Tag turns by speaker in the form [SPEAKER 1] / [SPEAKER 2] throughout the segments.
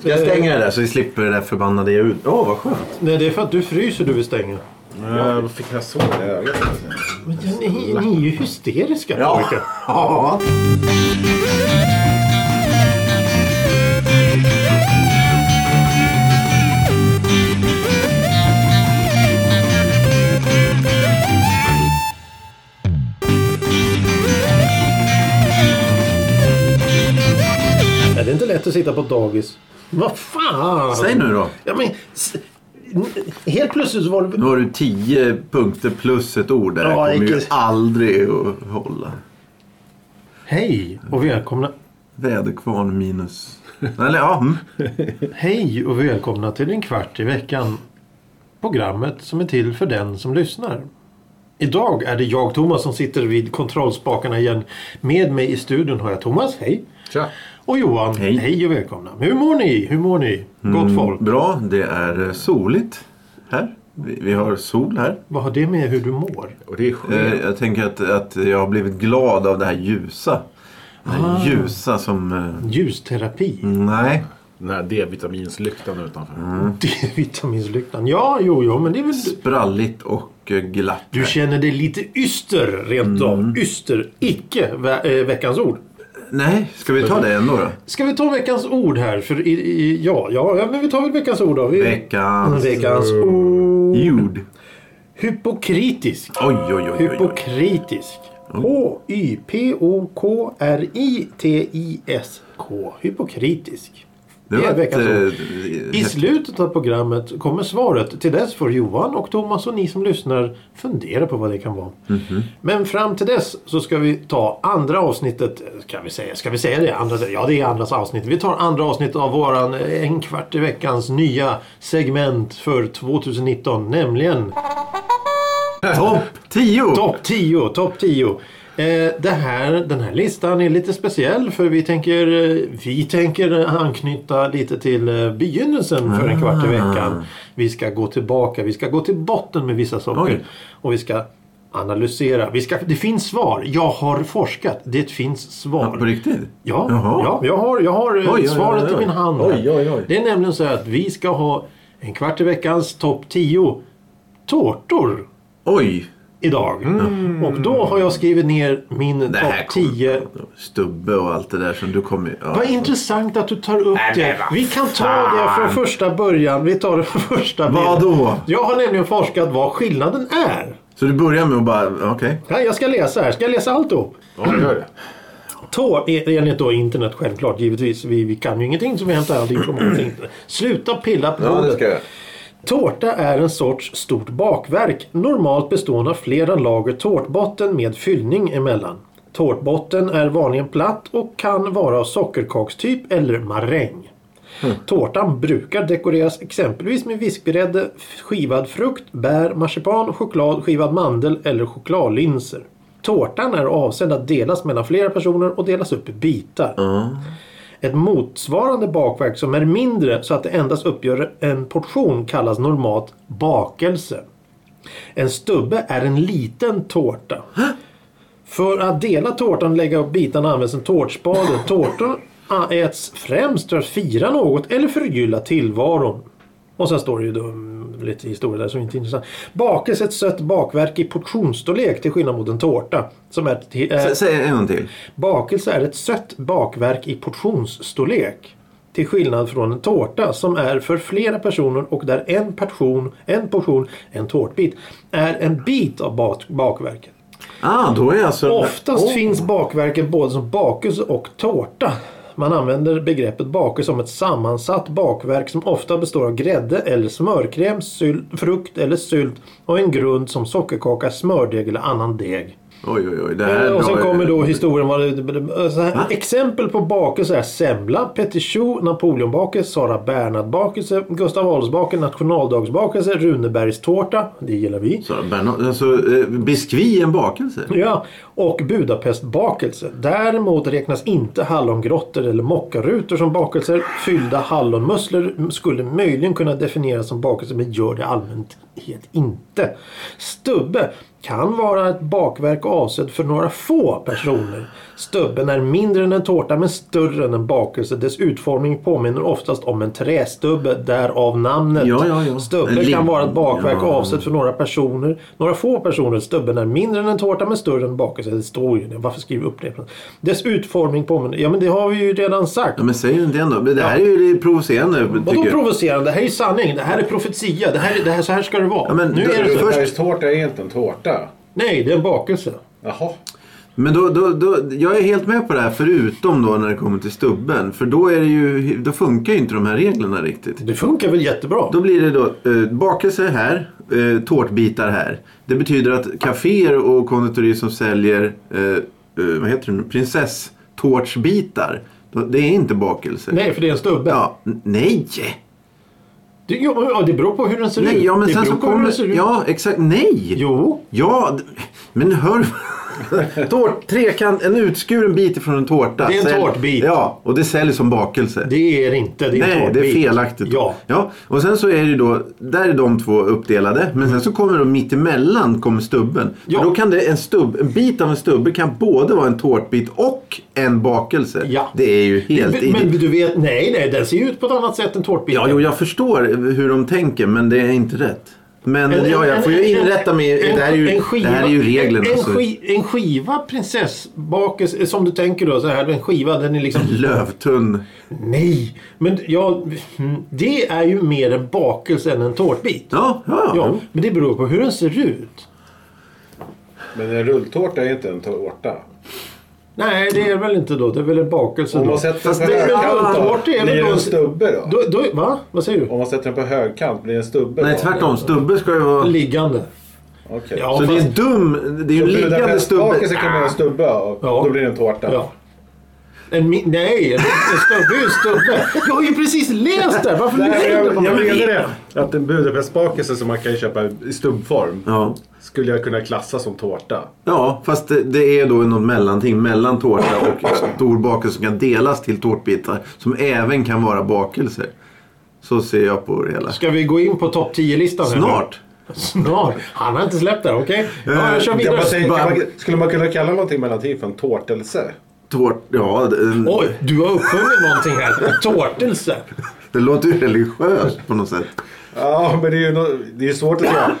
[SPEAKER 1] Ska jag stänga det där så vi slipper det där förbannade ljudet? Åh, vad skönt.
[SPEAKER 2] Nej, det är för att du fryser du vill stänga.
[SPEAKER 3] Ja, då fick jag sår i ögat.
[SPEAKER 2] Men ja, ni, ni är ju hysteriska pojkar.
[SPEAKER 1] ja.
[SPEAKER 2] Nej, det är inte lätt att sitta på ett dagis. Vad fan!
[SPEAKER 1] Säg nu då.
[SPEAKER 2] Ja, men, s- n- helt plötsligt så var det...
[SPEAKER 1] Nu har du tio punkter plus ett ord där. Det
[SPEAKER 2] Ja,
[SPEAKER 1] kommer ju
[SPEAKER 2] icke-
[SPEAKER 1] aldrig att hålla.
[SPEAKER 2] Hej och välkomna.
[SPEAKER 1] Väderkvarn minus... Eller ja. mm.
[SPEAKER 2] Hej och välkomna till en kvart i veckan. Programmet som är till för den som lyssnar. Idag är det jag, Thomas, som sitter vid kontrollspakarna igen. Med mig i studion har jag Thomas, hej.
[SPEAKER 3] Tja.
[SPEAKER 2] Och Johan,
[SPEAKER 1] Hej. Mm.
[SPEAKER 2] och välkomna. Hur mår ni? Hur mår ni? Gott folk.
[SPEAKER 1] Bra, det är eh, soligt här. Vi, vi har sol här.
[SPEAKER 2] Vad har det med hur du mår?
[SPEAKER 3] Och det är
[SPEAKER 1] Eh,
[SPEAKER 3] skönt.
[SPEAKER 1] jag tänker att, att jag har blivit glad av det här ljusa. Det här
[SPEAKER 3] Ah.
[SPEAKER 1] ljusa som... eh,
[SPEAKER 2] Ljusterapi?
[SPEAKER 1] Mm. Nej.
[SPEAKER 3] Den här D-vitaminslyktan utanför.
[SPEAKER 2] D-vitaminslyktan? Ja, jo, jo, men det är väl...
[SPEAKER 1] Spralligt och eh, glatt.
[SPEAKER 2] Du känner dig lite yster rent av.
[SPEAKER 1] Mm.
[SPEAKER 2] Yster. Icke vä- eh, veckans ord.
[SPEAKER 1] Nej, ska vi ta det ändå då?
[SPEAKER 2] Ska vi ta veckans ord här? För i, i, ja, ja, ja, men vi tar väl veckans ord då. Vi, Mm,
[SPEAKER 1] Veckans
[SPEAKER 2] veckans
[SPEAKER 3] Oh.
[SPEAKER 2] ord.
[SPEAKER 1] ljud.
[SPEAKER 2] Hypokritisk.
[SPEAKER 1] Oj, oj, oj. oj, oj.
[SPEAKER 2] Hypokritisk. H-Y-P-O-K-R-I-T-I-S-K. Hypokritisk.
[SPEAKER 1] Det
[SPEAKER 2] Det
[SPEAKER 1] var
[SPEAKER 2] är veckans
[SPEAKER 1] ett,
[SPEAKER 2] ord.
[SPEAKER 1] eh,
[SPEAKER 2] I
[SPEAKER 1] häftigt.
[SPEAKER 2] slutet av programmet kommer svaret. Till dess får Johan och Thomas och ni som lyssnar fundera på vad det kan vara. Men fram till dess så ska vi ta andra avsnittet. Kan vi säga, ska vi säga det? Andra, ja, det är andras avsnitt. Vi tar andra avsnitt av våran eh, en kvart i veckans nya segment för 2019. Nämligen
[SPEAKER 1] Topp 10!
[SPEAKER 2] Topp 10, topp 10. Eh, det här, den här listan är lite speciell för vi tänker, eh, vi tänker anknyta lite till eh, begynnelsen för en
[SPEAKER 1] Ah.
[SPEAKER 2] kvart i veckan. Vi ska gå tillbaka, vi ska gå till botten med vissa saker.
[SPEAKER 1] Oj.
[SPEAKER 2] Och vi ska analysera. Vi ska, det finns svar. Jag har forskat. Det finns svar.
[SPEAKER 1] På riktigt?
[SPEAKER 2] Ja,
[SPEAKER 1] Jaha.
[SPEAKER 2] ja jag har, jag har eh,
[SPEAKER 1] Oj, oj,
[SPEAKER 2] svaret
[SPEAKER 1] oj, oj.
[SPEAKER 2] i min hand. här.
[SPEAKER 3] Oj, oj, oj.
[SPEAKER 2] Det är nämligen så att vi ska ha en kvart i veckans topp 10 tårtor
[SPEAKER 1] Oj!
[SPEAKER 2] idag. Och då har jag skrivit ner min
[SPEAKER 1] Mm. Det här
[SPEAKER 2] topp
[SPEAKER 1] kommer-
[SPEAKER 2] 10.
[SPEAKER 1] Stubbe och allt det där som du kommer... Ja.
[SPEAKER 2] Vad intressant att du tar upp det. Vi kan ta det från första början. Vi tar det från första
[SPEAKER 1] Vad
[SPEAKER 2] början.
[SPEAKER 1] då?
[SPEAKER 2] Jag har nämligen forskat vad skillnaden är.
[SPEAKER 1] Så du börjar med att bara... Okej.
[SPEAKER 2] Ja, jag ska läsa här. Ska jag läsa alltihop?
[SPEAKER 3] Ja, gör det.
[SPEAKER 2] Tår, e, enligt då internet självklart, givetvis. Vi, vi kan ju ingenting så vi hämtar all information. från internet. Sluta pilla på
[SPEAKER 1] Ja, det
[SPEAKER 2] bordet.
[SPEAKER 1] ska jag.
[SPEAKER 2] Tårta är en sorts stort bakverk, normalt bestående av flera lager tårtbotten med fyllning emellan. Tårtbotten är vanligen platt och kan vara av sockerkakstyp eller maräng. Tårtan brukar dekoreras exempelvis med vispgrädde, skivad frukt, bär, marsipan, choklad, skivad mandel eller chokladlinser. Tårtan är avsedd att delas mellan flera personer och delas upp i bitar. Ett motsvarande bakverk som är mindre så att det endast uppgör en portion kallas normalt bakelse. En stubbe är en liten tårta. För att dela tårtan och lägga upp bitarna används en tårtspade. Tårtor äts främst för att fira något eller förgylla tillvaron. Och sen står det ju då mm, lite historia där som inte är intressant. Bakelse är ett sött bakverk i portionsstorlek till skillnad mot en tårta. Som är, till- eh,
[SPEAKER 1] Sä- Säg en gång till.
[SPEAKER 2] Bakelse är ett sött bakverk i portionsstorlek. Till skillnad från en tårta som är för flera personer och där en portion, en portion, en tårtbit, är en bit av bak- bakverket.
[SPEAKER 1] Ah, då är alltså...
[SPEAKER 2] Oftast
[SPEAKER 1] Åh.
[SPEAKER 2] finns bakverket både som bakelse och tårta. Man använder begreppet bakelse som ett sammansatt bakverk som ofta består av grädde eller smörkräm, sylt, frukt eller sylt och en grund som sockerkaka, smördeg eller annan deg.
[SPEAKER 1] Oj, oj, oj. Det här
[SPEAKER 2] Eh, Och sen
[SPEAKER 1] drar ju-
[SPEAKER 2] kommer då historien. Vad det, så här, exempel på bakelser är semla, petit choux, napoleonbakelse, Sara Bernhard-bakelse, Gustav Adolfsbakelse, nationaldagsbakelse, Runebergstårta. Det gillar vi.
[SPEAKER 1] Så, Bernhard, alltså, eh, biskvi är en bakelse?
[SPEAKER 2] Ja, och Budapestbakelse. Däremot räknas inte hallongrottor eller mockarutor som bakelser. Fyllda hallonmusslor skulle möjligen kunna definieras som bakelser men gör det i allmänhet inte. Stubbe kan vara ett bakverk avsedd för några få personer. Stubben är mindre än en tårta men större än en bakelse. Dess utformning påminner oftast om en trästubbe, därav namnet.
[SPEAKER 1] Ja, ja, ja. En
[SPEAKER 2] Stubbe
[SPEAKER 1] lim-
[SPEAKER 2] kan vara ett bakverk
[SPEAKER 1] ja.
[SPEAKER 2] avsett för några personer. Några få personer. Stubben är mindre än en tårta men större än en bakelse. Det står ju det. Varför skriver upprepas? Dess utformning påminner... Ja men det har vi ju redan sagt.
[SPEAKER 1] Ja, men säg inte ändå. Det här är ju det provocerande.
[SPEAKER 2] Vadå
[SPEAKER 1] tycker jag.
[SPEAKER 2] provocerande? Det här är ju sanning. Det här är profetia. Det här, är- det här, så här ska det vara.
[SPEAKER 1] men
[SPEAKER 2] nu
[SPEAKER 1] då-
[SPEAKER 2] är det så.
[SPEAKER 3] Rödbergstårta är inte en tårta.
[SPEAKER 2] Nej, det är en bakelse.
[SPEAKER 3] Jaha.
[SPEAKER 1] Men då, då, då, jag är helt med på det här förutom då när det kommer till stubben. För då, är det ju, då funkar ju inte de här reglerna riktigt.
[SPEAKER 2] Det funkar väl jättebra?
[SPEAKER 1] Då blir det då eh, bakelse här, eh, tårtbitar här. Det betyder att kaféer och konditori som säljer eh, eh, vad heter det nu? prinsesstårtsbitar. då- Det är inte bakelse.
[SPEAKER 2] Nej, för det är en stubbe.
[SPEAKER 1] Ja, n- nej!
[SPEAKER 2] Det, jo, men, ja, det beror på hur den ser ut.
[SPEAKER 1] Nej, ja men
[SPEAKER 2] det
[SPEAKER 1] sen
[SPEAKER 2] beror
[SPEAKER 1] så
[SPEAKER 2] på hur den ser
[SPEAKER 1] kommer...
[SPEAKER 2] ut.
[SPEAKER 1] Ja, exakt. Nej!
[SPEAKER 2] Jo.
[SPEAKER 1] Ja, d- men hör... Tårt, trekant, en utskuren bit ifrån en tårta.
[SPEAKER 2] Det är en
[SPEAKER 1] Sälj-
[SPEAKER 2] tårtbit.
[SPEAKER 1] Ja, och det säljs som bakelse.
[SPEAKER 2] Det är det inte. Det är en
[SPEAKER 1] Nej, det är
[SPEAKER 2] tårtbit.
[SPEAKER 1] felaktigt.
[SPEAKER 2] Ja.
[SPEAKER 1] ja. Och sen så är det då, där är de två uppdelade. Men sen så kommer de mitt emellan kommer stubben.
[SPEAKER 2] Ja.
[SPEAKER 1] Ja. Då kan det, en, stubb, en bit av en stubbe kan både vara en tårtbit och en bakelse.
[SPEAKER 2] Ja.
[SPEAKER 1] Det är ju helt...
[SPEAKER 2] Men, men du vet, nej, nej, den ser ju ut på ett annat sätt än tårtbiten.
[SPEAKER 1] Ja, jo, jag förstår hur de tänker men det är inte rätt. Men
[SPEAKER 2] En-
[SPEAKER 1] ja, jag
[SPEAKER 2] en-
[SPEAKER 1] får ju
[SPEAKER 2] en-
[SPEAKER 1] inrätta mig.
[SPEAKER 2] en-
[SPEAKER 1] det, här är ju,
[SPEAKER 2] en skiva-
[SPEAKER 1] det här är ju reglerna. alltså.
[SPEAKER 2] En,
[SPEAKER 1] så-
[SPEAKER 2] ski, en skiva prinsessbakelse, som du tänker då, så här, en skiva den är liksom...
[SPEAKER 1] Lövtunn.
[SPEAKER 2] nej! Men ja, mm, det är ju mer en bakelse än en tårtbit.
[SPEAKER 1] Ja, ja.
[SPEAKER 2] Ja, men det beror på hur den ser ut.
[SPEAKER 3] Men en rulltårta är inte en tårta.
[SPEAKER 2] Nej, det är väl inte då. Det är väl en bakelse
[SPEAKER 3] Om
[SPEAKER 2] då.
[SPEAKER 3] man sätter den
[SPEAKER 1] Fast
[SPEAKER 3] på
[SPEAKER 1] det- men
[SPEAKER 3] högkant
[SPEAKER 2] rulltårta
[SPEAKER 3] då?
[SPEAKER 2] är väl
[SPEAKER 3] Blir
[SPEAKER 2] då
[SPEAKER 3] det
[SPEAKER 2] en-
[SPEAKER 3] en stubbe då?
[SPEAKER 2] då, då, va? Vad säger du?
[SPEAKER 3] Om man sätter den på högkant, blir det en stubbe
[SPEAKER 1] Nej,
[SPEAKER 3] då?
[SPEAKER 1] tvärtom. Stubbe ska ju vara...
[SPEAKER 2] Liggande.
[SPEAKER 3] Okej.
[SPEAKER 2] Ja,
[SPEAKER 1] Så det är
[SPEAKER 2] fast-
[SPEAKER 1] en dum... Det är ju en liggande stubbe.
[SPEAKER 3] Bakelse kan bli en stubbe och
[SPEAKER 2] Ja.
[SPEAKER 3] då blir det en tårta.
[SPEAKER 2] Ja. En mi- nej, en en stubbe är ju en stubbe. Jag har ju precis läst det! Varför
[SPEAKER 3] Nej,
[SPEAKER 2] lyssnar
[SPEAKER 3] jag,
[SPEAKER 2] du
[SPEAKER 3] jag
[SPEAKER 2] på mig?
[SPEAKER 3] menar det. Att en Budapestbakelse som man kan köpa i stubbform
[SPEAKER 1] Ja.
[SPEAKER 3] skulle jag kunna klassa som tårta.
[SPEAKER 1] Ja, fast det, det är då något mellanting mellan tårta och stor bakelse som kan delas till tårtbitar. Som även kan vara bakelser. Så ser jag på det hela.
[SPEAKER 2] Ska vi gå in på topp 10-listan? här nu?
[SPEAKER 1] Snart.
[SPEAKER 2] Snart? Han har inte släppt det, okej? Ja, jag kör
[SPEAKER 3] Jag bara
[SPEAKER 2] vidare.
[SPEAKER 3] säger, kan man, skulle man kunna kalla någonting mellanting för en tårtelse?
[SPEAKER 1] Tårt... Ja, det,
[SPEAKER 2] Oj, du har uppfunnit någonting här. Tårtelse.
[SPEAKER 1] det låter ju religiöst på något sätt.
[SPEAKER 3] Ja, men det är ju, nå- det är ju svårt att säga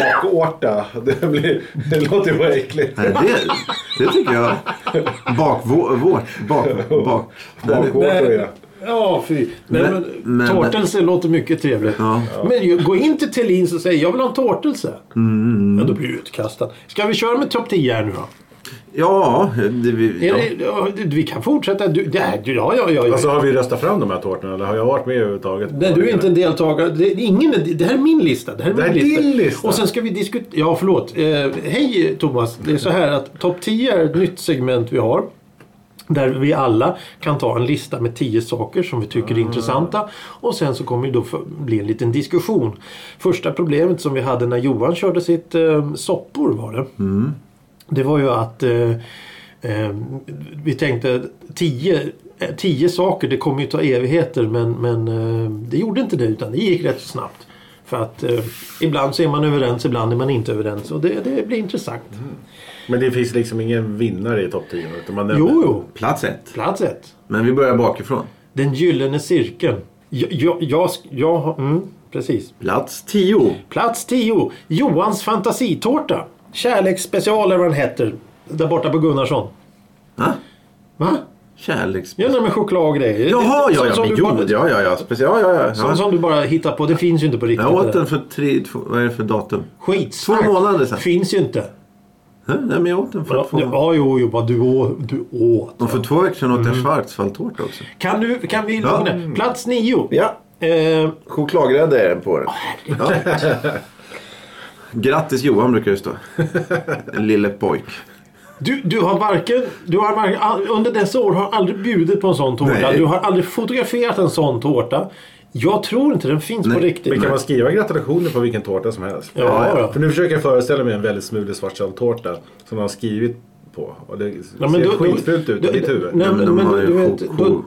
[SPEAKER 3] bakårta. Det, blir, det låter ju bara äckligt.
[SPEAKER 1] Nej, det, det tycker jag. Bakvå... Vårt... Bak... bak.
[SPEAKER 3] Bakårtor ja.
[SPEAKER 2] Ja, fy. Nej, men,
[SPEAKER 1] Men- men-
[SPEAKER 2] tårtelse låter mycket trevligt. Men ju, gå in till Thelins och säg jag vill ha en tårtelse. Ja, då blir du utkastad. Ska vi köra med topp 10 här nu då?
[SPEAKER 1] Ja, det, vi,
[SPEAKER 2] Är
[SPEAKER 1] ja.
[SPEAKER 2] det, ja, det- vi kan fortsätta. Du, det här, ja, ja, ja. ja.
[SPEAKER 3] Alltså har vi röstat fram de här tårtorna eller har jag varit med överhuvudtaget?
[SPEAKER 2] Nej, du är inte en deltagare. Det, är ingen, det här är min lista. Det här är,
[SPEAKER 3] Det här
[SPEAKER 2] min
[SPEAKER 3] är
[SPEAKER 2] lista.
[SPEAKER 3] din lista.
[SPEAKER 2] Och sen ska vi diskutera... Ja, förlåt. Eh, hej Thomas. Det är så här att topp 10 är ett nytt segment vi har. Där vi alla kan ta en lista med 10 saker som vi tycker är
[SPEAKER 3] Mm.
[SPEAKER 2] intressanta. Och sen så kommer det då för- bli en liten diskussion. Första problemet som vi hade när Johan körde sitt eh, soppor var det. Det var ju att eh, eh, vi tänkte tio, eh, tio saker, det kommer ju ta evigheter men, men eh, det gjorde inte det utan det gick rätt snabbt. För att eh, ibland så är man överens, ibland är man inte överens och det, det blir intressant.
[SPEAKER 1] Mm.
[SPEAKER 3] Men det finns liksom ingen vinnare i topp 10? Utan man nämner-
[SPEAKER 2] Jo, jo,
[SPEAKER 1] Plats ett.
[SPEAKER 2] plats ett.
[SPEAKER 1] Men vi börjar bakifrån.
[SPEAKER 2] Den gyllene cirkeln. Jag, jag, jag, jag har- mm, precis.
[SPEAKER 1] Plats tio.
[SPEAKER 2] Plats 10. Johans fantasitårta. Kärleksspecial eller vad den heter. Där borta på Gunnarsson.
[SPEAKER 1] Va?
[SPEAKER 2] Va?
[SPEAKER 1] Kärleks...
[SPEAKER 2] Ja, nej, med choklad och grejer.
[SPEAKER 1] Jaha,
[SPEAKER 2] Det-
[SPEAKER 1] ja,
[SPEAKER 2] som-
[SPEAKER 1] ja,
[SPEAKER 2] som
[SPEAKER 1] men
[SPEAKER 2] du bara-
[SPEAKER 1] jo, ja, ja, ja, speciellt, ja, ja, ja.
[SPEAKER 2] Sånt som du bara hittar på. Det finns ju inte på riktigt.
[SPEAKER 1] Jag åt
[SPEAKER 2] det där.
[SPEAKER 1] den för tre, två, vad är det för datum?
[SPEAKER 2] Skitsnack.
[SPEAKER 1] Två månader sedan.
[SPEAKER 2] Finns ju inte.
[SPEAKER 1] Nej, nej, men jag åt den för
[SPEAKER 2] Ja,
[SPEAKER 1] två.
[SPEAKER 2] du, ja jo, jo, vad du, å- du åt.
[SPEAKER 1] Och för två veckor sedan åt
[SPEAKER 2] Mm.
[SPEAKER 1] jag schwarzwaldtårta också.
[SPEAKER 2] Kan, du, kan vi
[SPEAKER 1] Ja.
[SPEAKER 2] lugna? Plats nio.
[SPEAKER 1] Ja.
[SPEAKER 2] Eh,
[SPEAKER 1] Chokladgrädde är den på den. Ja. Grattis Johan brukar det stå. Lille pojk.
[SPEAKER 2] du, du har varken, du har varken, all- under dessa år har aldrig bjudit på en sån tårta.
[SPEAKER 1] Nej.
[SPEAKER 2] Du har aldrig fotograferat en sån tårta. Jag tror inte den finns på
[SPEAKER 1] Nej.
[SPEAKER 2] riktigt.
[SPEAKER 3] Men kan man skriva gratulationer på vilken tårta som helst?
[SPEAKER 2] Ja, ja.
[SPEAKER 3] För nu försöker jag föreställa mig en väldigt smulig svartsalttårta som man har skrivit på. Och det ser
[SPEAKER 2] Ja, men då-
[SPEAKER 3] skitfult ut i
[SPEAKER 2] då-
[SPEAKER 3] mitt huvud.
[SPEAKER 2] Nej,
[SPEAKER 1] men
[SPEAKER 2] men,
[SPEAKER 1] de
[SPEAKER 2] men
[SPEAKER 1] har ju
[SPEAKER 2] du vet,
[SPEAKER 1] ko-
[SPEAKER 2] då,
[SPEAKER 1] ko-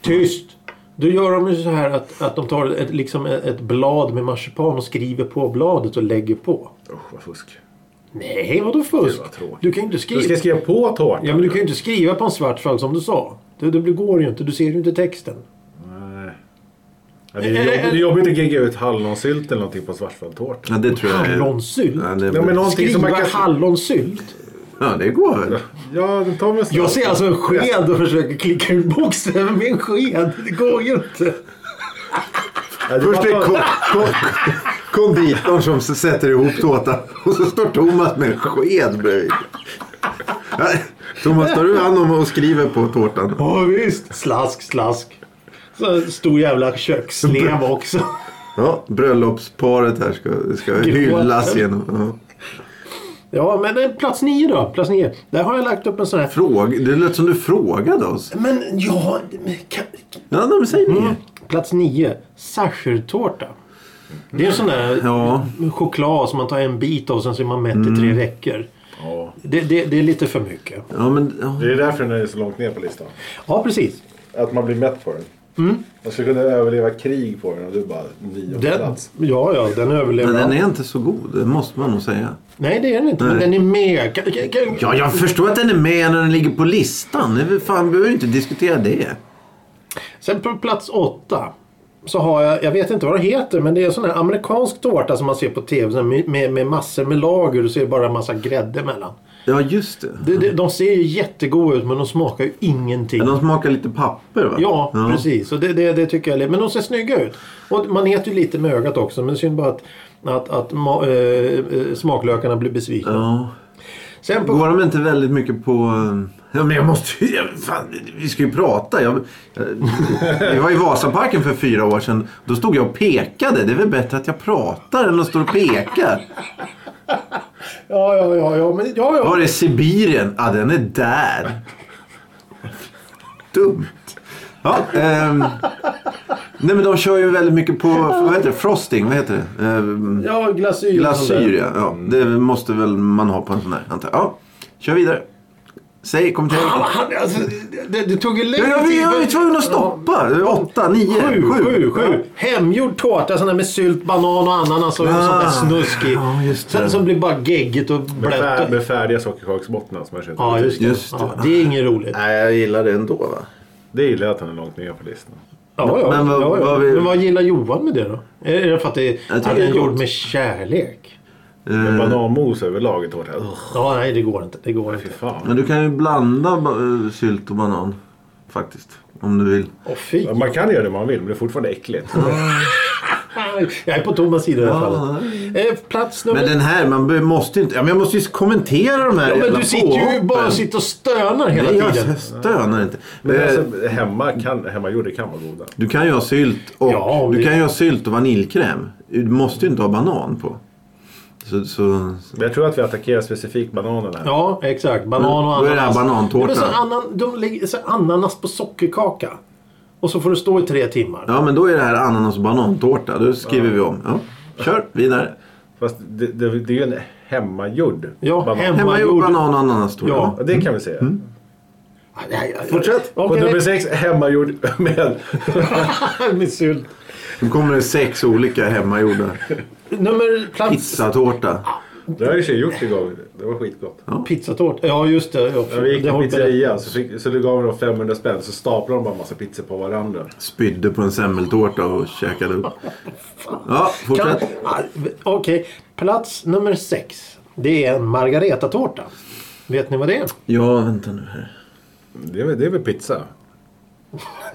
[SPEAKER 2] tyst! Då gör de ju så här att, att de tar ett, liksom ett blad med marsipan och skriver på bladet och lägger på.
[SPEAKER 3] Usch vad fusk.
[SPEAKER 2] Nej, vadå fusk?
[SPEAKER 3] Gud, vad tråkigt.
[SPEAKER 2] Du kan ju inte
[SPEAKER 3] Du
[SPEAKER 2] skriva...
[SPEAKER 3] ska skriva på tårtan.
[SPEAKER 2] Ja, men du kan ju inte skriva på en svart fall som du sa. Det, det går ju inte. Du ser ju inte texten.
[SPEAKER 3] Nej. Ja, det, är jobb, det är jobbigt att gigga ut hallonsylt eller någonting på en svartfaldtårta.
[SPEAKER 1] Ja, det tror jag. är-
[SPEAKER 2] Hallonsylt?
[SPEAKER 1] Ja, det,
[SPEAKER 3] Ja, men någonting som
[SPEAKER 2] Skriva
[SPEAKER 3] man kan...
[SPEAKER 2] hallonsylt?
[SPEAKER 1] ja, det går väl.
[SPEAKER 3] Ja, den tar med snabbt.
[SPEAKER 2] Jag ser alltså en sked och försöker klicka ut bokstäver med en sked. Det går ju inte.
[SPEAKER 3] Ja, det
[SPEAKER 1] Först är
[SPEAKER 3] bara-
[SPEAKER 1] kon, kon, konditorn som s- sätter ihop tårtan och så står Thomas med en sked bredvid. Ja, Thomas, tar du hand om och skriver på tårtan?
[SPEAKER 2] Ja visst. Slask, slask. Så en stor jävla köksslev också.
[SPEAKER 1] Ja, bröllopsparet här ska, ska hyllas genom... Ja.
[SPEAKER 2] Ja, men eh, plats nio då. Plats nio. Där har jag lagt upp en sån här...
[SPEAKER 1] Fråg, det lät som du frågade oss.
[SPEAKER 2] Men ja... men kan-
[SPEAKER 1] Ja, nej, men säg mer.
[SPEAKER 2] Mm. Plats nio. Sachertårta. Det är en sån där
[SPEAKER 1] Ja. Mm.
[SPEAKER 2] choklad som man tar en bit av och sen så är man mätt i tre veckor.
[SPEAKER 3] Ja.
[SPEAKER 2] Det, det, det är lite för mycket.
[SPEAKER 1] Ja, men, ja.
[SPEAKER 3] Det är därför den är så långt ner på listan.
[SPEAKER 2] Ja, precis.
[SPEAKER 3] Att man blir mätt på den. Man skulle kunna överleva krig på den och du bara nionde
[SPEAKER 2] Mm. Den,
[SPEAKER 3] plats.
[SPEAKER 2] ja, ja, den överlever.
[SPEAKER 1] Men den är inte så god, det måste man nog säga.
[SPEAKER 2] Nej, det är den inte. Men
[SPEAKER 1] Nej.
[SPEAKER 2] den är med. Kan, kan, kan...
[SPEAKER 1] Ja, jag förstår att den är med när den ligger på listan. Det är väl Fan, vi behöver inte diskutera det.
[SPEAKER 2] Sen på plats åtta så har jag, jag vet inte vad det heter, men det är en sån här amerikansk tårta som man ser på tv sån här med, med, med massor med lager och så är det bara en massa grädde mellan.
[SPEAKER 1] Ja, just det.
[SPEAKER 2] De, de, de ser ju jättegoda ut men de smakar ju ingenting.
[SPEAKER 1] Ja, De smakar lite papper, va?
[SPEAKER 2] Ja, precis. Och det, det, det tycker jag. är- Men de ser snygga ut. Och man äter ju lite med ögat också. Men synd bara att, att, att ma- eh, eh, smaklökarna blir besvikna.
[SPEAKER 1] Ja.
[SPEAKER 2] Sen på...
[SPEAKER 1] Går de inte väldigt mycket på... eh, Ja, men jag måste ju... jag- Fan, vi ska ju prata. Jag, jag, vi var i Vasaparken för fyra år sedan. Då stod jag och pekade. Det är väl bättre att jag pratar än att stå och peka.
[SPEAKER 2] Ja, ja, ja, ja, men, ja, ja.
[SPEAKER 1] Var är Sibirien? Ja, den är där. Dumt. Ja, ehm, nej men de kör ju väldigt mycket på, vad heter det, frosting, vad heter det? Ehm,
[SPEAKER 2] Ja, glasyr.
[SPEAKER 1] glasyr ja. ja. Det måste väl man ha på en sån här, antar jag. Ja, kör vidare. Säg, kommentera. Ja,
[SPEAKER 2] Han, alltså, det, det, det tog ju längre
[SPEAKER 1] jag,
[SPEAKER 2] tid.
[SPEAKER 1] jag, jag är tvungen att stoppa. Åtta, nio,
[SPEAKER 2] Sju, sju,
[SPEAKER 1] Ja.
[SPEAKER 2] sju. Hemgjord tårta sån där med sylt, banan och ananas och
[SPEAKER 1] Ah.
[SPEAKER 2] sånt där snusk i.
[SPEAKER 1] Ja, just det.
[SPEAKER 2] Sen som blir bara geggigt och
[SPEAKER 3] Med, fär,
[SPEAKER 2] blött.
[SPEAKER 3] med färdiga sockerkaksbottnar som jag köpte.
[SPEAKER 2] Ja, just det.
[SPEAKER 1] Just det.
[SPEAKER 2] Ja, det är inget roligt.
[SPEAKER 1] Nej, jag gillar det ändå va.
[SPEAKER 3] Det gillar jag att den är långt ner på listan.
[SPEAKER 2] Ja, ja.
[SPEAKER 1] Men vad-
[SPEAKER 2] ja, ja.
[SPEAKER 1] vad vi-
[SPEAKER 2] men vad gillar Johan med det då? Är det för att det
[SPEAKER 1] Jag
[SPEAKER 2] att
[SPEAKER 1] tycker
[SPEAKER 2] den
[SPEAKER 1] det är
[SPEAKER 2] är gjord
[SPEAKER 1] gott.
[SPEAKER 2] med kärlek?
[SPEAKER 3] Med
[SPEAKER 2] Mm.
[SPEAKER 3] bananmos överlag i tårta. Ugh,
[SPEAKER 2] Ja, nej det går inte. Det går inte.
[SPEAKER 3] fy fan.
[SPEAKER 1] Men du kan ju blanda eh, sylt och banan. Faktiskt. Om du vill.
[SPEAKER 2] Åh fy.
[SPEAKER 3] Ja, Man kan göra det man vill men det är fortfarande äckligt.
[SPEAKER 2] Mm. Jag är på Thomas sida i alla
[SPEAKER 1] Ja,
[SPEAKER 2] fall. Eh, plats nummer...
[SPEAKER 1] Men den här, man be- måste ju inte... Ja, men jag måste ju kommentera de här
[SPEAKER 2] ja, men
[SPEAKER 1] jävla
[SPEAKER 2] du sitter ju
[SPEAKER 1] påhoppen.
[SPEAKER 2] bara och sitter och stönar hela
[SPEAKER 1] Nej,
[SPEAKER 2] tiden.
[SPEAKER 1] jag stönar inte.
[SPEAKER 3] Men
[SPEAKER 1] Eh,
[SPEAKER 3] alltså, hemma kan, hemmagjorda kan vara goda.
[SPEAKER 1] Du kan ju ha sylt och,
[SPEAKER 2] Ja, om
[SPEAKER 1] du
[SPEAKER 2] det-
[SPEAKER 1] kan ju ha sylt och vaniljkräm. Du måste ju inte ha banan på. Så, så,
[SPEAKER 3] Men jag tror att vi attackerar specifikt bananen här.
[SPEAKER 2] Ja, exakt. Banan och
[SPEAKER 1] Då är det här
[SPEAKER 2] ananas.
[SPEAKER 1] banantårta.
[SPEAKER 2] Ja, men så anan, de lägger så ananas på sockerkaka. Och så får du stå i tre timmar.
[SPEAKER 1] ja, men då är det här ananas och banantårta. Då skriver vi om. Ja, kör vidare.
[SPEAKER 3] Fast det, det, det är ju en hemmagjord
[SPEAKER 2] Ja,
[SPEAKER 3] banan.
[SPEAKER 2] hem-
[SPEAKER 1] Hemmagjord
[SPEAKER 2] Hemmagjord.
[SPEAKER 1] banan och ananastårta.
[SPEAKER 2] Ja.
[SPEAKER 3] Ja, det kan vi säga.
[SPEAKER 1] Mm.
[SPEAKER 2] Ah, nej, jag-
[SPEAKER 3] Fortsätt! På
[SPEAKER 2] Okej.
[SPEAKER 3] nummer sex, hemmagjord med...
[SPEAKER 2] Med sylt.
[SPEAKER 1] Nu kommer det sex olika hemmagjorda.
[SPEAKER 2] Nummer plats...
[SPEAKER 1] Pizzatårta.
[SPEAKER 3] Det har jag i och för sig gjort igång. Det var skitgott.
[SPEAKER 2] Pizzatårta. Ja, just det. Ja,
[SPEAKER 3] När vi gick
[SPEAKER 2] det
[SPEAKER 3] till
[SPEAKER 2] har-
[SPEAKER 3] pizzerian så, fick, så det gav de 500 spänn så staplade de bara massa pizzor på varandra.
[SPEAKER 1] Spydde på en semmeltårta och käkade upp. Ja,
[SPEAKER 2] Kan-
[SPEAKER 1] fortsätt.
[SPEAKER 2] Ah, Okej, plats nummer sex. Det är en margaretatårta. Vet ni vad det är?
[SPEAKER 1] Ja, vänta nu här.
[SPEAKER 3] Det är, väl- det är väl pizza?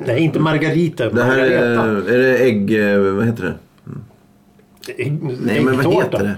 [SPEAKER 2] Nej, inte margarita.
[SPEAKER 1] Det här
[SPEAKER 2] margareta.
[SPEAKER 1] är, är det ägg... eh, Vad heter det?
[SPEAKER 2] Ägg-
[SPEAKER 1] Nej, men vad
[SPEAKER 2] äggtårta.
[SPEAKER 1] heter det?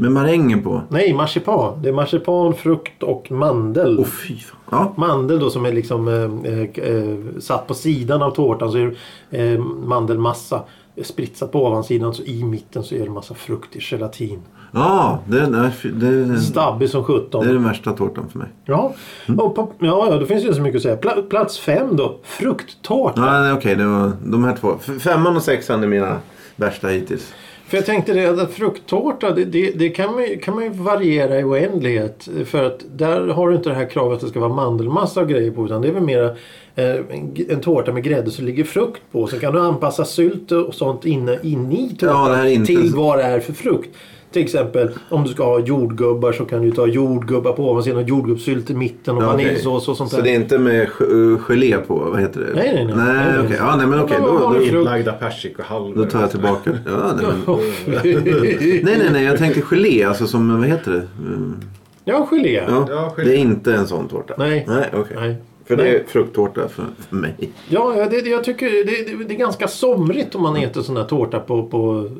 [SPEAKER 1] Med marängen på.
[SPEAKER 2] Nej, marsipan. Det är marsipan, frukt och mandel.
[SPEAKER 1] Åh fy fan. Ja.
[SPEAKER 2] Mandel då som är liksom eh, eh, eh, satt på sidan av tårtan så är det eh, mandelmassa spritsat på ovansidan så i mitten så är det massa frukt i gelatin.
[SPEAKER 1] Ja, det, nej, fy- det, det
[SPEAKER 2] Stabbig som sjutton.
[SPEAKER 1] är den värsta tårtan för mig.
[SPEAKER 2] Ja, och på, ja, ja, då finns det inte så mycket att säga. Pla, plats fem då, frukttårta.
[SPEAKER 1] Ja, nej, okej, det var de här två. F- Femman och sexan är mina värsta hittills.
[SPEAKER 2] För jag tänkte det att frukttårta det, det, det kan, man, ju- kan man ju variera i oändlighet. För att där har du inte det här kravet att det ska vara mandelmassa och grejer på. Utan det är väl mera eh, en, g- en tårta med grädde så ligger frukt på. Sen kan du anpassa sylt och sånt inne, inne i tårtan
[SPEAKER 1] Ja, det här är inte-
[SPEAKER 2] till vad det är för frukt. Till exempel om du ska ha jordgubbar så kan du ta jordgubbar på ovansidan och jordgubbssylt i mitten och
[SPEAKER 1] Ja, okej.
[SPEAKER 2] vaniljsås och sånt
[SPEAKER 1] Så det är inte med ge- eh, gelé på? Vad heter det?
[SPEAKER 2] Nej, nej, nej.
[SPEAKER 1] Nej,
[SPEAKER 2] Nej, nej.
[SPEAKER 1] okej. Ja, nej, men
[SPEAKER 2] Ja,
[SPEAKER 1] okej.
[SPEAKER 2] men vad
[SPEAKER 1] Då,
[SPEAKER 2] har du
[SPEAKER 1] då,
[SPEAKER 2] för-
[SPEAKER 3] Inlagda persik och halvor.
[SPEAKER 1] då tar jag tillbaka. Ja, nej, men.
[SPEAKER 2] där.
[SPEAKER 1] nej, nej, nej. Jag tänkte gelé. Alltså som, vad heter det? Mm,
[SPEAKER 2] ja, gelé.
[SPEAKER 1] Ja,
[SPEAKER 3] Ja,
[SPEAKER 1] det
[SPEAKER 3] gelé.
[SPEAKER 1] är inte en sån tårta.
[SPEAKER 2] Nej.
[SPEAKER 1] Nej, okej.
[SPEAKER 2] Nej.
[SPEAKER 1] För det
[SPEAKER 2] Nej.
[SPEAKER 1] är frukttårta för, för mig.
[SPEAKER 2] Ja, ja, det, det- jag tycker det, det, det är ganska somrigt om man äter sån här tårta på, på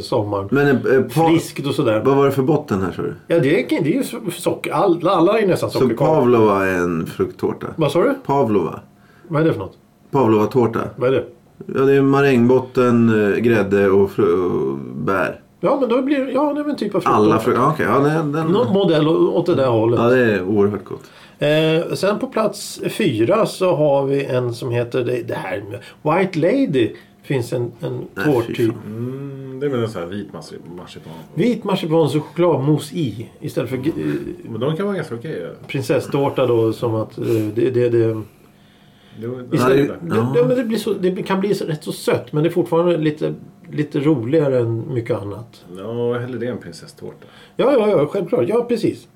[SPEAKER 2] sommaren.
[SPEAKER 1] Men eh, eh, pa-
[SPEAKER 2] Friskt och sådär.
[SPEAKER 1] vad var det för botten här sa du?
[SPEAKER 2] Ja, det är, det är ju so- socker. Alla, alla är nästan
[SPEAKER 1] Så
[SPEAKER 2] sockerkakor.
[SPEAKER 1] pavlova är en frukttårta?
[SPEAKER 2] Vad sa du?
[SPEAKER 1] Pavlova?
[SPEAKER 2] Vad är det för något?
[SPEAKER 1] Pavlova-tårta?
[SPEAKER 2] Vad är det?
[SPEAKER 1] Ja, det är marängbotten, eh, grädde och, fru- och bär.
[SPEAKER 2] Ja, men då blir det- ja, det är väl en typ av frukt.
[SPEAKER 1] Alla frukter. Ja, okej. Ja, den, den,
[SPEAKER 2] Någon modell å- åt det där hållet.
[SPEAKER 1] ja, det är oerhört gott.
[SPEAKER 2] Eh, sen på plats fyra så har vi en som heter det, det här med White Lady. Finns en, en
[SPEAKER 1] Nej, fy
[SPEAKER 2] tårttyp.
[SPEAKER 1] fan.
[SPEAKER 3] Mm, det är väl en sån här vit marsi- marsipan.
[SPEAKER 2] Vit marsipans och chokladmos i. Istället för eh,
[SPEAKER 3] Men de kan vara ganska okej. ja.
[SPEAKER 2] prinsesstårta då som att eh, det, det, det
[SPEAKER 3] Jo, nej,
[SPEAKER 2] Istället,
[SPEAKER 3] det-
[SPEAKER 2] det, det, men det, blir så, det kan bli så, rätt så sött men det är fortfarande lite, lite roligare än mycket annat.
[SPEAKER 3] Ja, hellre det än prinsesstårta.
[SPEAKER 2] Ja, ja, ja självklart. Ja, precis.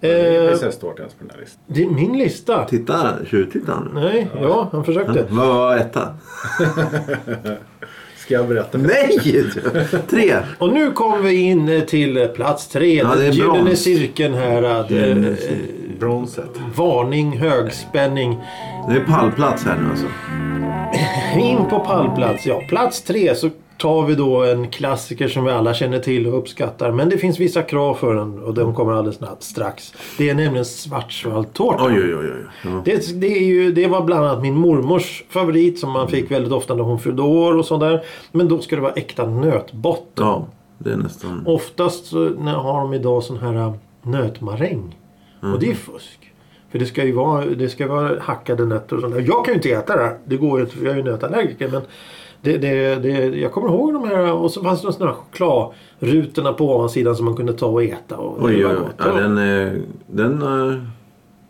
[SPEAKER 2] Eh,
[SPEAKER 3] Det är prinsesstårta ens på den här listan.
[SPEAKER 2] det är min lista.
[SPEAKER 1] Titta, tjuvtitta nu.
[SPEAKER 2] Nej, ja, han försökte.
[SPEAKER 1] Vad var etta?
[SPEAKER 3] Ska jag berätta?
[SPEAKER 1] Nej! Tre.
[SPEAKER 2] Och nu kommer vi in eh, till eh, plats tre.
[SPEAKER 1] Ja, det är
[SPEAKER 2] den gyllene
[SPEAKER 1] brons.
[SPEAKER 2] cirkeln här. Att, eh, eh,
[SPEAKER 3] Bronset.
[SPEAKER 2] varning, högspänning.
[SPEAKER 1] Det är pallplats här nu alltså.
[SPEAKER 2] In på pallplats. Ja, plats tre så tar vi då en klassiker som vi alla känner till och uppskattar. Men det finns vissa krav för den och de kommer alldeles snabbt- strax. Det är nämligen svartsvalltårta.
[SPEAKER 1] Oj, oj, oj. oj. Ja.
[SPEAKER 2] Det, det, är ju, det var bland annat min mormors favorit som man fick väldigt ofta när hon fyllde år och sådär. Men då ska det vara äkta nötbotten.
[SPEAKER 1] ja, det är nästan...
[SPEAKER 2] Oftast så när- har de idag sån här äh, nötmaräng. Och
[SPEAKER 1] Mm.
[SPEAKER 2] det är fusk. För det ska ju vara, det ska vara hackade nötter och sånt där. Jag kan ju inte äta det här. Det går ju inte för jag är ju nötallergiker. Men det, det, det, jag kommer ihåg de här och så fanns det såna här chokladrutorna på ovansidan som man kunde ta och äta. Och det
[SPEAKER 1] Oj,
[SPEAKER 2] var
[SPEAKER 1] oj, oj.
[SPEAKER 2] gott.
[SPEAKER 1] Ja, den, är, den, är,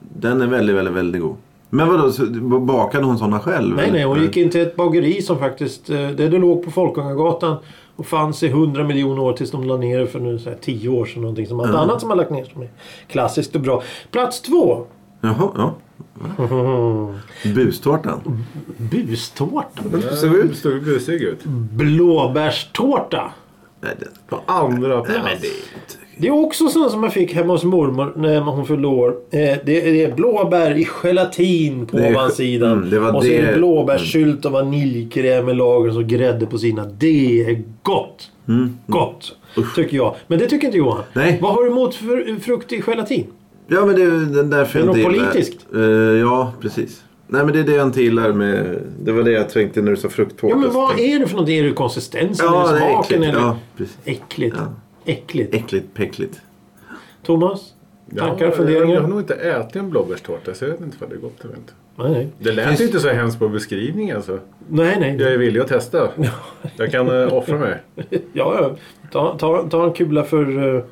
[SPEAKER 1] den är väldigt, väldigt, väldigt god. Men vadå, så bakade hon såna själv?
[SPEAKER 2] Nej, nej, hon gick in till ett bageri som faktiskt, eh, det det låg på Folkungagatan och fanns i 100 miljoner år tills de la ner det för nu så här, 10 år sedan. Någonting som allt
[SPEAKER 1] Mm.
[SPEAKER 2] annat som har lagt ner som är klassiskt och bra. Plats två.
[SPEAKER 1] Jaha, ja.
[SPEAKER 2] Mm,
[SPEAKER 1] Bustårtan.
[SPEAKER 2] Bustårta.
[SPEAKER 1] Ser vi ut?
[SPEAKER 3] Stod busig ut.
[SPEAKER 2] Blåbärstårta.
[SPEAKER 1] Nej, det,
[SPEAKER 3] På andra plats.
[SPEAKER 2] Det är också sånt som jag fick hemma hos mormor när hon fyllde år. Eh, Det är det är blåbär i gelatin på
[SPEAKER 1] Det är-
[SPEAKER 2] ovansidan.
[SPEAKER 1] mm, det var
[SPEAKER 2] och så är det
[SPEAKER 1] det- mm.
[SPEAKER 2] blåbärssylt och vaniljkräm med lager och så grädde på sina. Det är gott! Gott! Tycker jag. Men det tycker inte Johan.
[SPEAKER 1] Mm, Nej.
[SPEAKER 2] Vad har du emot fr- frukt i gelatin?
[SPEAKER 1] Ja, men det är den därför
[SPEAKER 2] Det är
[SPEAKER 1] jag
[SPEAKER 2] något
[SPEAKER 1] inte gillar-
[SPEAKER 2] politiskt.
[SPEAKER 1] Eh, ja, precis. Nej, men det är det jag inte gillar med... Det var det jag tänkte när du sa frukttårta.
[SPEAKER 2] Ja men vad är det för någonting? Är det konsistensen?
[SPEAKER 1] Ja,
[SPEAKER 2] eller
[SPEAKER 1] det är
[SPEAKER 2] smaken?
[SPEAKER 1] äckligt.
[SPEAKER 2] eller?
[SPEAKER 1] Ja, precis.
[SPEAKER 2] Äckligt.
[SPEAKER 1] Ja.
[SPEAKER 2] Äckligt.
[SPEAKER 1] Äckligt, päckligt.
[SPEAKER 2] Thomas? Tankar?
[SPEAKER 3] Jag har
[SPEAKER 2] funderingar?
[SPEAKER 3] nog inte ätit en blåbärstårta så jag vet inte vad det är gott eller inte.
[SPEAKER 2] Nej, nej.
[SPEAKER 3] Det lät
[SPEAKER 2] Finns-
[SPEAKER 3] ju inte så hemskt på beskrivningen så.
[SPEAKER 2] Nej, nej.
[SPEAKER 3] Jag är villig att testa. Jag kan eh, offra mig.
[SPEAKER 2] Ja, ja. Ta, ta, ta en kula för... eh,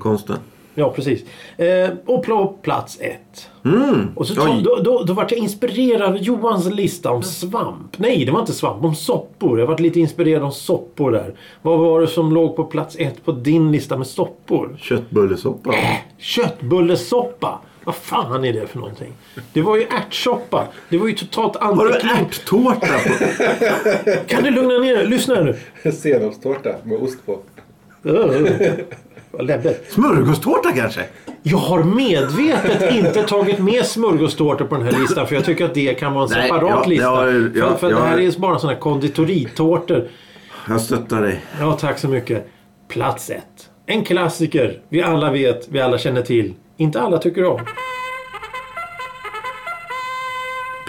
[SPEAKER 1] Konsten.
[SPEAKER 2] Ja, precis. Eh, och på plats ett.
[SPEAKER 1] Mm.
[SPEAKER 2] Och så ta,
[SPEAKER 1] Oj.
[SPEAKER 2] då, då, då vart jag inspirerad av Johans lista om svamp. Nej, det var inte svamp. Om soppor. Jag vart lite inspirerad av soppor där. Vad var det som låg på plats ett på din lista med soppor?
[SPEAKER 1] Köttbullesoppa.
[SPEAKER 2] Köttbullesoppa. Vad fan är det för någonting? Det var ju ärtsoppa. Det var ju totalt
[SPEAKER 1] Har du
[SPEAKER 2] antiklimax.
[SPEAKER 1] ärttårta på?
[SPEAKER 2] Kan du lugna ner dig? Lyssna här nu.
[SPEAKER 3] Senapstårta med ost på.
[SPEAKER 2] Öh, Vad läbbigt.
[SPEAKER 1] Smörgåstårta kanske?
[SPEAKER 2] Jag har medvetet inte tagit med smörgåstårta på den här listan för jag tycker att det kan vara en
[SPEAKER 1] Nej,
[SPEAKER 2] separat
[SPEAKER 1] ja,
[SPEAKER 2] lista.
[SPEAKER 1] ja, ja,
[SPEAKER 2] för för det
[SPEAKER 1] ja.
[SPEAKER 2] här är bara sådana här konditoritårtor.
[SPEAKER 1] Jag stöttar dig.
[SPEAKER 2] Ja, tack så mycket. Plats ett. En klassiker vi alla vet, vi alla känner till. Inte alla tycker om.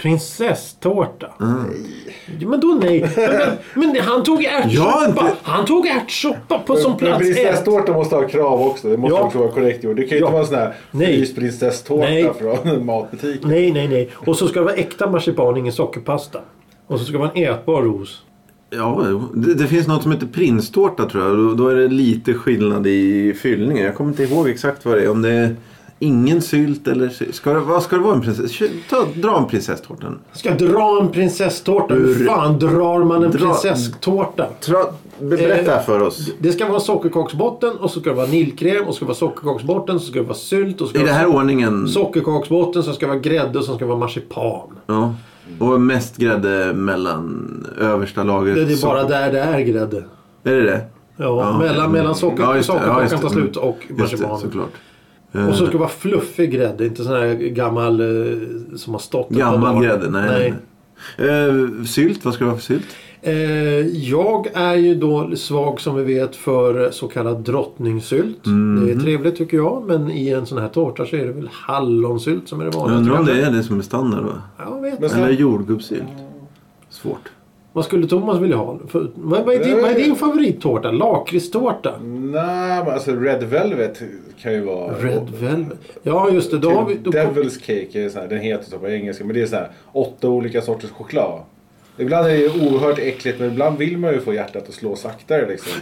[SPEAKER 2] Prinsesstårta.
[SPEAKER 1] Mm.
[SPEAKER 2] Ja, Men då nej. Men, men, men han tog
[SPEAKER 1] Ja,
[SPEAKER 2] ärtsoppa.
[SPEAKER 1] inte-
[SPEAKER 2] Han tog ärtsoppa på som
[SPEAKER 3] Men
[SPEAKER 2] plats ett.
[SPEAKER 3] prinsesstårta måste ha krav också. Det måste
[SPEAKER 2] Ja.
[SPEAKER 3] också vara korrekt gjort. Det kan ju
[SPEAKER 2] Ja.
[SPEAKER 3] inte vara en sån här
[SPEAKER 2] Nej. Nej.
[SPEAKER 3] mysprinsesstårta från en matbutik.
[SPEAKER 2] Nej, nej, nej. Och så ska det vara äkta marsipan, ingen sockerpasta. Och så ska det vara en ätbar ros.
[SPEAKER 1] Ja, det, det finns något som heter prinstårta tror jag. Då, då är det lite skillnad i fyllningen. Jag kommer inte ihåg exakt vad det är. Om det är ingen sylt eller... sy- Ska det, vad ska det vara en prinsess? Kö- Ta, dra en prinsesstårta nu.
[SPEAKER 2] Ska dra en prinsesstårta? Hur
[SPEAKER 1] Ur-
[SPEAKER 2] fan drar man en
[SPEAKER 1] Dra-
[SPEAKER 2] prinsesstårta?
[SPEAKER 1] Tra, be- berätta för oss.
[SPEAKER 2] Det ska vara sockerkaksbotten och så ska det vara nilkräm och så ska det vara sockerkaksbotten så ska det vara sylt och så ska
[SPEAKER 1] I
[SPEAKER 2] det
[SPEAKER 1] den
[SPEAKER 2] vara
[SPEAKER 1] här ordningen.
[SPEAKER 2] sockerkaksbotten så ska det vara grädde och så ska det vara marsipan.
[SPEAKER 1] Ja. Och mest grädde mellan översta lagret.
[SPEAKER 2] Det är bara
[SPEAKER 1] socker-
[SPEAKER 2] där det är grädde.
[SPEAKER 1] Är det det?
[SPEAKER 2] Ja, mellan,
[SPEAKER 1] mm.
[SPEAKER 2] mellan socker,
[SPEAKER 1] Ja, just det. Ja,
[SPEAKER 2] sockerkakan
[SPEAKER 1] just det.
[SPEAKER 2] tar slut och
[SPEAKER 1] Mm. Just det,
[SPEAKER 2] marsipanen.
[SPEAKER 1] såklart.
[SPEAKER 2] Och så ska det vara fluffig grädde, inte sån här gammal eh, som har stått ett par
[SPEAKER 1] Gammal
[SPEAKER 2] dagar.
[SPEAKER 1] grädde? Nej. nej. Eh, sylt, vad ska det vara för sylt?
[SPEAKER 2] Eh, jag är ju då svag som vi vet för så kallad drottningsylt.
[SPEAKER 1] Mm.
[SPEAKER 2] Det är trevligt tycker jag men i en sån här tårta så är det väl hallonsylt som är det
[SPEAKER 1] Jag
[SPEAKER 2] vanliga.
[SPEAKER 1] undrar om
[SPEAKER 2] kanske.
[SPEAKER 1] det är det som är standard va?
[SPEAKER 2] Ja, jag vet.
[SPEAKER 3] Men-
[SPEAKER 2] inte.
[SPEAKER 1] Eller jordgubbssylt? Svårt.
[SPEAKER 2] Vad skulle Thomas vilja ha? För, vad, vad, är din, vad är din favorittårta? Lakritstårta?
[SPEAKER 3] Mm. Nej, men alltså Red Velvet kan ju vara...
[SPEAKER 2] Mm. Red Velvet? Ja just det. Då har vi, då,
[SPEAKER 3] Devil's Cake är sån här, den heter så på engelska. Men det är så här åtta olika sorters choklad. Ibland är det ju oerhört äckligt men ibland vill man ju få hjärtat att slå saktare liksom.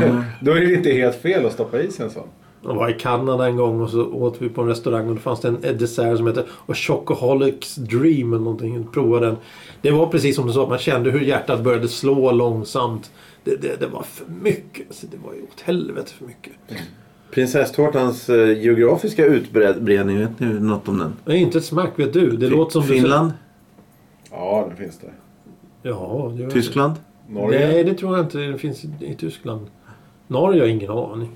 [SPEAKER 2] Mm.
[SPEAKER 3] Då är det inte helt fel att stoppa i sig en sån.
[SPEAKER 2] jag var i Kanada en gång och så åt vi på en restaurang och då fanns det en en dessert som hette Chocoholics Dream eller någonting. Prova den. Det var precis som du sa, man kände hur hjärtat började slå långsamt. Det, det, det var för mycket. Alltså, det var ju åt helvete för mycket.
[SPEAKER 1] Prinsesstårtans eh, geografiska utbredning, vet ni något om den?
[SPEAKER 2] Det är inte ett smack vet du. Det låter som du-
[SPEAKER 1] Finland?
[SPEAKER 3] Ja, den finns det.
[SPEAKER 2] Ja, det gör det.
[SPEAKER 1] Tyskland?
[SPEAKER 3] Norge.
[SPEAKER 2] Nej, det tror jag inte. Det finns i, i Tyskland. Norge har jag ingen aning.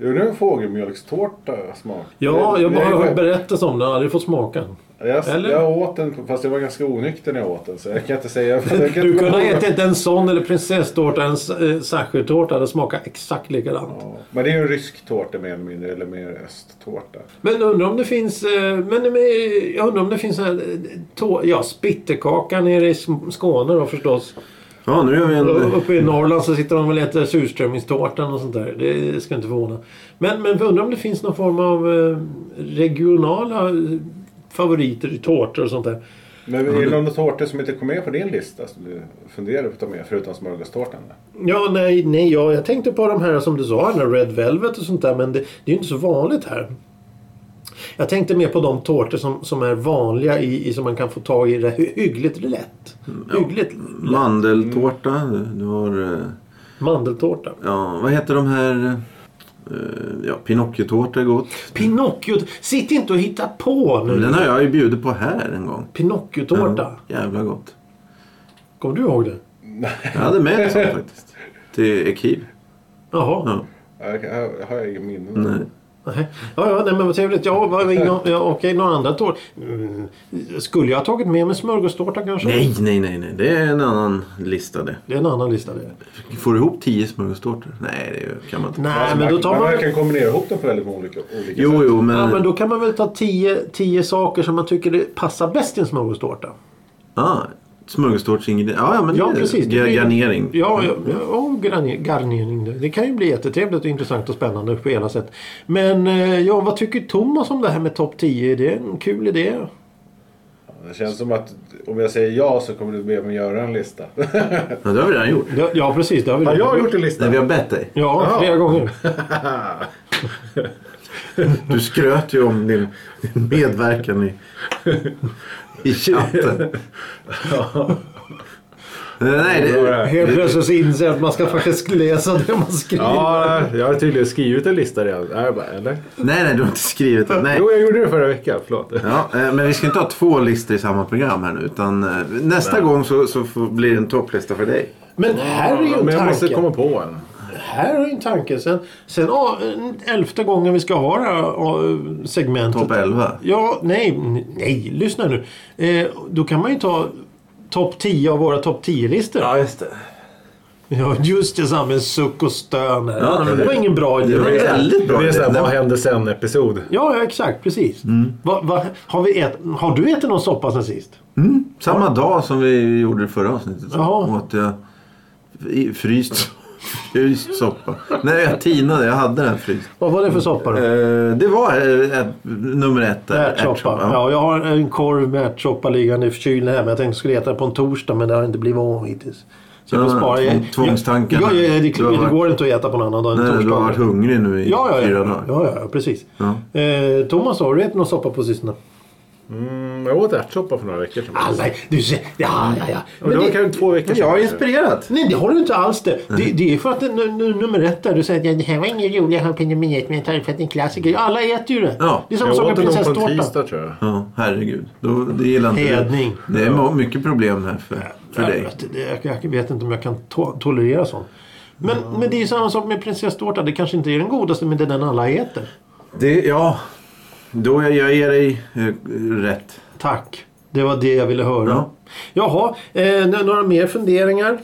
[SPEAKER 3] Jo, det är en fågelmjölkstårta smak.
[SPEAKER 2] Ja,
[SPEAKER 3] Det-
[SPEAKER 2] jag
[SPEAKER 3] det
[SPEAKER 2] bara
[SPEAKER 3] är-
[SPEAKER 2] har hört berättelser om den. Jag har aldrig fått smaka den.
[SPEAKER 3] Jag,
[SPEAKER 2] Eller?
[SPEAKER 3] jag åt den, fast jag var ganska onykter när jag åt den. Så jag kan inte säga. Jag kan
[SPEAKER 2] Du
[SPEAKER 3] inte
[SPEAKER 2] kunde ha
[SPEAKER 3] ihåg.
[SPEAKER 2] ätit en sån eller prinsesstårta, en s- eh, sachertårta. Det smakar exakt likadant.
[SPEAKER 3] Ja, Men det är ju en rysk tårta mer eller mindre, eller mer östtårta.
[SPEAKER 2] Men undrar om det finns... eh, Men, men, eh, jag undrar om det finns... en, eh, tå- Ja, spittekaka nere i Sm- Skåne då förstås.
[SPEAKER 1] Ja, nu gör vi en... eh,
[SPEAKER 2] Och Uppe i Norrland så sitter de och äter surströmmingstårtan och sånt där. Det ska inte förvåna. Men, men undrar om det finns någon form av eh, regionala eh, favoriter i tårtor och sånt där.
[SPEAKER 3] Men är det någon tårta som inte kom med på din lista som du funderar på att ta med förutom smörgåstårtan?
[SPEAKER 2] Ja, nej, nej ja, jag tänkte på de här som du sa, den här Red Velvet och sånt där, men det, det är ju inte så vanligt här. Jag tänkte mer på de tårtor som, som är vanliga i, i som man kan få tag i det hy- hyggligt lätt.
[SPEAKER 1] Mm,
[SPEAKER 2] Hyggligt lätt.
[SPEAKER 1] Mandeltårta. Du har... eh,
[SPEAKER 2] Mandeltårta.
[SPEAKER 1] Ja, vad heter de här... eh, Ja, Pinocchiotårta är gott.
[SPEAKER 2] Pinocchio. Sitt inte och hitta på nu.
[SPEAKER 1] Den har jag ju bjudit på här en gång.
[SPEAKER 2] Pinocchio-tårta.
[SPEAKER 1] Mm. Ja, jävla gott.
[SPEAKER 2] Kommer du ihåg det?
[SPEAKER 1] Jag hade med en sån faktiskt. Till Ekiv.
[SPEAKER 2] Jaha.
[SPEAKER 1] Ja.
[SPEAKER 3] Jag kan- jag har jag ingen minne.
[SPEAKER 1] Nej.
[SPEAKER 2] Nej. Ja, ja, nej, men vad trevligt. Ja, vad, ja, okej, några andra tårtor. Mm. Skulle jag ha tagit med mig smörgåstårta kanske?
[SPEAKER 1] nej, nej, nej, nej. Det är en annan lista det.
[SPEAKER 2] Det är en annan lista det.
[SPEAKER 1] Får du ihop tio smörgåstårtor? Nej, det kan man inte.
[SPEAKER 2] Nej,
[SPEAKER 3] Alltså,
[SPEAKER 2] men då
[SPEAKER 3] man,
[SPEAKER 2] tar
[SPEAKER 3] man,
[SPEAKER 2] man...
[SPEAKER 3] kan kombinera ihop dem på väldigt många olika, olika
[SPEAKER 1] Jo, jo, men...
[SPEAKER 2] Ja, men då kan man väl ta tio, tio saker som man tycker det passar bäst i en smörgåstårta.
[SPEAKER 1] Ah, smörgåstårtsingredienser. Ja, ja, men
[SPEAKER 2] Ja,
[SPEAKER 1] det-
[SPEAKER 2] precis. Det
[SPEAKER 1] Ga-
[SPEAKER 2] blir-
[SPEAKER 1] garnering. Mm.
[SPEAKER 2] Ja, ja, ja om garne- garnering. det- Det kan ju bli jättetrevligt och intressant och spännande på ena sätt. Men eh, ja, vad tycker Thomas om det här med topp 10? Är det en kul idé?
[SPEAKER 3] sätt. Det känns som att om jag säger ja så kommer du be mig göra en lista.
[SPEAKER 1] Ja, det har vi redan gjort.
[SPEAKER 2] Ja, ja precis. Det har vi
[SPEAKER 3] Har
[SPEAKER 2] redan
[SPEAKER 3] jag gjort en lista?
[SPEAKER 1] Nej, vi har bett dig.
[SPEAKER 2] Ja,
[SPEAKER 3] Jaha.
[SPEAKER 2] flera gånger.
[SPEAKER 1] Du skröt ju om din din medverkan i, i chatten. Nej, det,
[SPEAKER 2] Helt plötsligt så inser jag att man ska faktiskt läsa det man skriver.
[SPEAKER 4] Ja, jag har tydligen skrivit en lista redan. Nej, jag bara, eller?
[SPEAKER 1] Eh, nej, nej, du har inte skrivit det. Nej.
[SPEAKER 4] Jo, jag gjorde det förra veckan. Förlåt.
[SPEAKER 1] Ja, eh, men vi ska inte ha två listor i samma program här nu. Utan eh, nästa gång så, så får- blir det en topplista för dig.
[SPEAKER 2] Men här är ju en
[SPEAKER 4] Men jag måste
[SPEAKER 2] tanke.
[SPEAKER 4] komma på en.
[SPEAKER 2] Här är ju en tanke. Sen, sen ja, elfte gången vi ska ha det här ja, segmentet.
[SPEAKER 1] Topp 11.
[SPEAKER 2] Ja, nej, nej, lyssna nu. Eh, då kan man ju ta topp 10 av våra topp 10-listor. Ja.
[SPEAKER 1] just det.
[SPEAKER 2] just det. Samma en suck och stön här.
[SPEAKER 1] Ja, nej, men
[SPEAKER 2] det var
[SPEAKER 1] det-
[SPEAKER 2] ingen bra idé.
[SPEAKER 1] Det var väldigt
[SPEAKER 4] Det
[SPEAKER 1] bra.
[SPEAKER 4] blir sån här, vad
[SPEAKER 1] idé.
[SPEAKER 4] hände sen-episod.
[SPEAKER 2] Ja, ja, exakt. Precis.
[SPEAKER 1] Mm.
[SPEAKER 2] Va, va, har, vi ät, har du ätit någon soppa sen sist?
[SPEAKER 1] Samma dag som vi gjorde det förra avsnittet.
[SPEAKER 2] Jaha.
[SPEAKER 1] Åt jag i- fryst Fryst soppa. Nej, jag tinade. Jag hade den fryst.
[SPEAKER 2] Vad var det för soppa då?
[SPEAKER 1] Eh, det var eh, eh, nummer ett där.
[SPEAKER 2] Ärtsoppa. Ja, jag har en korv med ärtsoppa liggande i kylen här. Men jag tänkte jag skulle äta på en torsdag men det har inte blivit av hittills. Så jag får
[SPEAKER 1] Ja,
[SPEAKER 2] spara. Jag,
[SPEAKER 1] tvångstankarna.
[SPEAKER 2] Jag, jag, jag, det,
[SPEAKER 1] Du har
[SPEAKER 2] det
[SPEAKER 1] varit-
[SPEAKER 2] går inte att äta på en annan dag än
[SPEAKER 1] Nej, du har
[SPEAKER 2] torsdag.
[SPEAKER 1] varit hungrig nu i
[SPEAKER 2] Ja, ja,
[SPEAKER 1] fyra
[SPEAKER 2] ja.
[SPEAKER 1] dagar.
[SPEAKER 2] ja, ja precis. Eh, Thomas, har du ätit någon soppa på sistone?
[SPEAKER 4] Mm, jag åt ärtsoppa för några veckor sedan.
[SPEAKER 2] Alla, du ser, ja, ja,
[SPEAKER 1] Mm.
[SPEAKER 2] ja.
[SPEAKER 4] Och det
[SPEAKER 2] Men
[SPEAKER 4] var
[SPEAKER 2] det,
[SPEAKER 4] kanske två veckor sedan.
[SPEAKER 1] Jag är inspirerat.
[SPEAKER 2] nej, det har du inte alls det. Det, det är för att det, nu, nu, nummer ett där, du säger att ja, det här var ingen rolig champinjoniet men jag tar det för att det är en klassiker. Alla äter ju det.
[SPEAKER 1] Ja.
[SPEAKER 2] Det är samma
[SPEAKER 4] jag
[SPEAKER 2] sak
[SPEAKER 4] åt
[SPEAKER 2] med
[SPEAKER 4] den nog på en
[SPEAKER 2] prinsesstårta.
[SPEAKER 4] tisdag tror jag.
[SPEAKER 1] Ja, herregud. Då, det gillar inte du.
[SPEAKER 2] Hedning.
[SPEAKER 1] Det är må- mycket problem här för, för
[SPEAKER 2] Jag
[SPEAKER 1] dig.
[SPEAKER 2] vet- det- Jag, jag vet inte om jag kan to- tolerera sånt. Men, men det är ju samma sak med prinsesstårta. Det kanske inte är den godaste men det är den alla äter.
[SPEAKER 1] Det, ja, då jag, jag ger dig eh, rätt.
[SPEAKER 2] Tack. Det var det jag ville höra.
[SPEAKER 1] Ja.
[SPEAKER 2] Jaha, eh, n- några mer funderingar?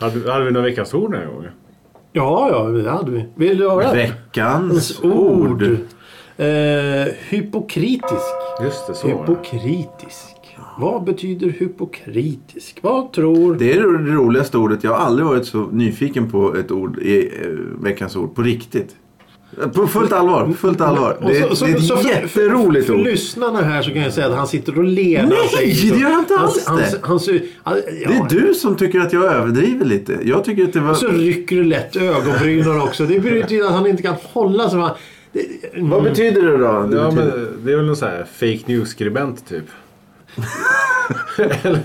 [SPEAKER 4] Hade, hade vi några veckans ord den här gången?
[SPEAKER 2] Ja, ja, det hade vi. Vill du höra?
[SPEAKER 1] Veckans
[SPEAKER 2] ord.
[SPEAKER 1] ord.
[SPEAKER 2] Eh, hypokritisk.
[SPEAKER 4] Just det, så var det.
[SPEAKER 2] Hypokritisk. Vad betyder hypokritisk? Vad tror...
[SPEAKER 1] Det är det roligaste ordet. Jag har aldrig varit så nyfiken på ett ord i eh, Veckans ord. På riktigt. På fullt allvar. Fullt allvar.
[SPEAKER 2] Och
[SPEAKER 1] Det är, det är ett
[SPEAKER 2] för-
[SPEAKER 1] jätteroligt
[SPEAKER 2] för,
[SPEAKER 1] ord.
[SPEAKER 2] för lyssnarna här så kan jag säga att han sitter och ler. när han
[SPEAKER 1] Nej,
[SPEAKER 2] säger så.
[SPEAKER 1] det gör jag inte
[SPEAKER 2] han,
[SPEAKER 1] alls
[SPEAKER 2] han,
[SPEAKER 1] det.
[SPEAKER 2] Han, han, han, ja,
[SPEAKER 1] Det är du som tycker att jag överdriver lite. Jag tycker att det var...
[SPEAKER 2] Så rycker du lätt ögonbrynen också. Det betyder att han inte kan hålla sig. Han- det-
[SPEAKER 1] Vad betyder det då? Det
[SPEAKER 4] Ja, men
[SPEAKER 1] betyder...
[SPEAKER 4] det är väl någon sån här fake news-skribent typ.
[SPEAKER 2] Mm.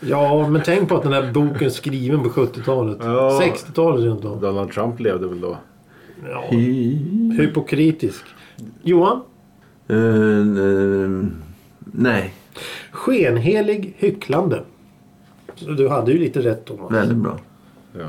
[SPEAKER 2] Ja, men tänk på att den här boken är skriven på 70-talet.
[SPEAKER 4] Ja.
[SPEAKER 2] 60-talet rent av.
[SPEAKER 4] Donald Trump levde väl då.
[SPEAKER 2] Ja. Hypokritisk. Johan?
[SPEAKER 1] Eh, eh, nej,
[SPEAKER 2] Skenhelig hycklande. Så Du hade ju lite rätt Thomas.
[SPEAKER 1] väldigt bra.
[SPEAKER 4] Ja.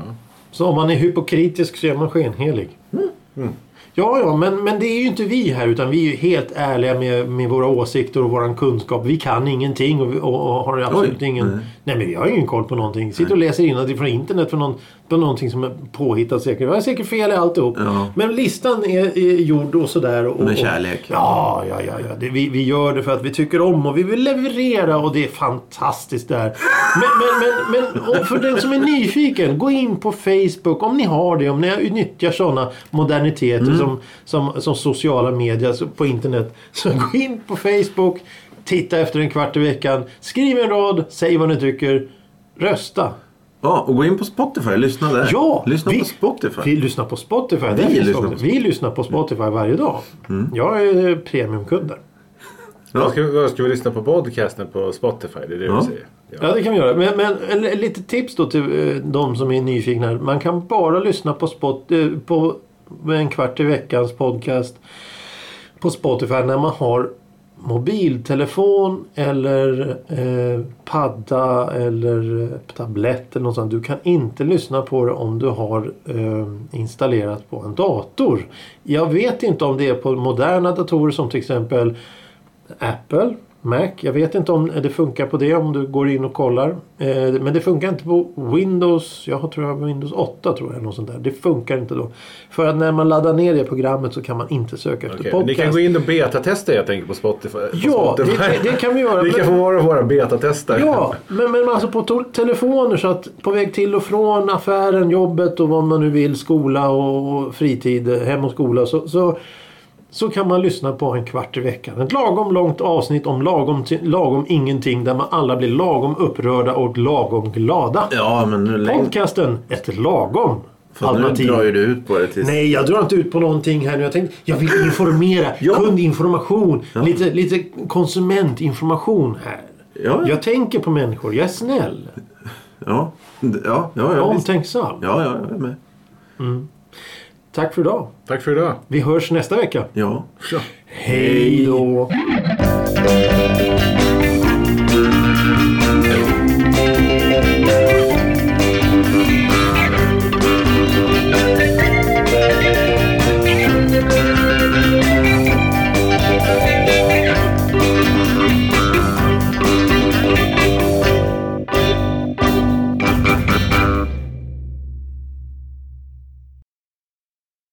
[SPEAKER 2] Så om man är hypokritisk så är man skenhelig.
[SPEAKER 1] Mm.
[SPEAKER 2] Mm. Ja, ja, men, men det är ju inte vi här utan vi är ju helt ärliga med, med våra åsikter och våran kunskap. Vi kan ingenting och, vi- och, och har absolut
[SPEAKER 1] Oj,
[SPEAKER 2] ingen...
[SPEAKER 1] nej.
[SPEAKER 2] Nej. men vi har ingen koll på någonting. Sitter och läser innantill från internet för någon, på någonting som är påhittat säkert. Vi har säkert fel i alltihop.
[SPEAKER 1] Ja.
[SPEAKER 2] Men listan är, är gjord och sådär. Och,
[SPEAKER 1] Med
[SPEAKER 2] och-
[SPEAKER 1] kärlek.
[SPEAKER 2] Ja, ja, ja. ja. Det, vi, vi gör det för att vi tycker om och vi vill leverera och det är fantastiskt där. Men, men, men, men och för den som är nyfiken, gå in på Facebook om ni har det. Om ni nyttjar sådana moderniteter
[SPEAKER 1] Mm.
[SPEAKER 2] som, som, som sociala medier så på internet. Så gå in på Facebook, titta efter en kvart i veckan, skriv en rad, säg vad ni tycker, rösta.
[SPEAKER 1] Ja, och gå in på Spotify. Lyssna där.
[SPEAKER 2] Ja,
[SPEAKER 1] lyssna
[SPEAKER 2] vi-
[SPEAKER 1] på Spotify.
[SPEAKER 2] Vi lyssnar på Spotify. Där
[SPEAKER 1] Vi
[SPEAKER 2] finns
[SPEAKER 1] lyssnar
[SPEAKER 2] också-
[SPEAKER 1] på Mm. Spotify.
[SPEAKER 2] vi lyssnar på Spotify varje dag. Jag är eh, premiumkund där.
[SPEAKER 1] Ja.
[SPEAKER 4] Ska, vi- ska vi lyssna på podcasten på Spotify? Det är det
[SPEAKER 1] Ja.
[SPEAKER 4] du säger?
[SPEAKER 2] Ja, det kan vi göra. Men, men eller, lite tips då till eh, de som är nyfikna. Man kan bara lyssna på, spot, eh, på en kvart i veckans podcast på Spotify när man har mobiltelefon eller eh, padda eller eh, tablett eller något sånt. Du kan inte lyssna på det om du har eh, installerat på en dator. Jag vet inte om det är på moderna datorer som till exempel Apple, Mac. Jag vet inte om det funkar på det om du går in och kollar. Eh, Men det funkar inte på Windows. Jag har- tror jag har Windows 8 tror jag. Något sånt där. Det funkar inte då. För att när man laddar ner det programmet så kan man inte söka efter
[SPEAKER 4] Okej, men
[SPEAKER 2] podcast.
[SPEAKER 4] Ni kan gå in och betatesta jag tänker på Spotify. På
[SPEAKER 2] Ja, det-
[SPEAKER 4] Spotify.
[SPEAKER 2] det- det kan vi
[SPEAKER 4] Ni
[SPEAKER 2] göra, men-
[SPEAKER 4] kan få vara våra betatestare.
[SPEAKER 2] Ja, men, men alltså på to- telefoner så att på väg till och från affären, jobbet och vad man nu vill, skola och och fritid, eh, hem och skola så, så, så kan man lyssna på en kvart i veckan. Ett lagom långt avsnitt om lagom, ti- lagom ingenting där man alla blir lagom upprörda och lagom glada.
[SPEAKER 1] Ja, men nu längre...
[SPEAKER 2] Podcasten, ett lagom
[SPEAKER 1] Fan, nu
[SPEAKER 2] alternativ.
[SPEAKER 1] drar ju du ut på det tills...
[SPEAKER 2] Nej, jag drar inte ut på någonting här nu. Jag tänkte, jag vill informera.
[SPEAKER 1] Ja.
[SPEAKER 2] Kundinformation. Lite, lite konsumentinformation här.
[SPEAKER 1] Ja.
[SPEAKER 2] Jag tänker på människor. Jag är snäll.
[SPEAKER 1] Ja, D- ja, ja, ja, visst.
[SPEAKER 2] Omtänksam.
[SPEAKER 1] ja, ja, jag är med.
[SPEAKER 2] Tack för idag.
[SPEAKER 4] Tack för idag.
[SPEAKER 2] Vi hörs nästa vecka.
[SPEAKER 1] Ja.
[SPEAKER 2] Hej då.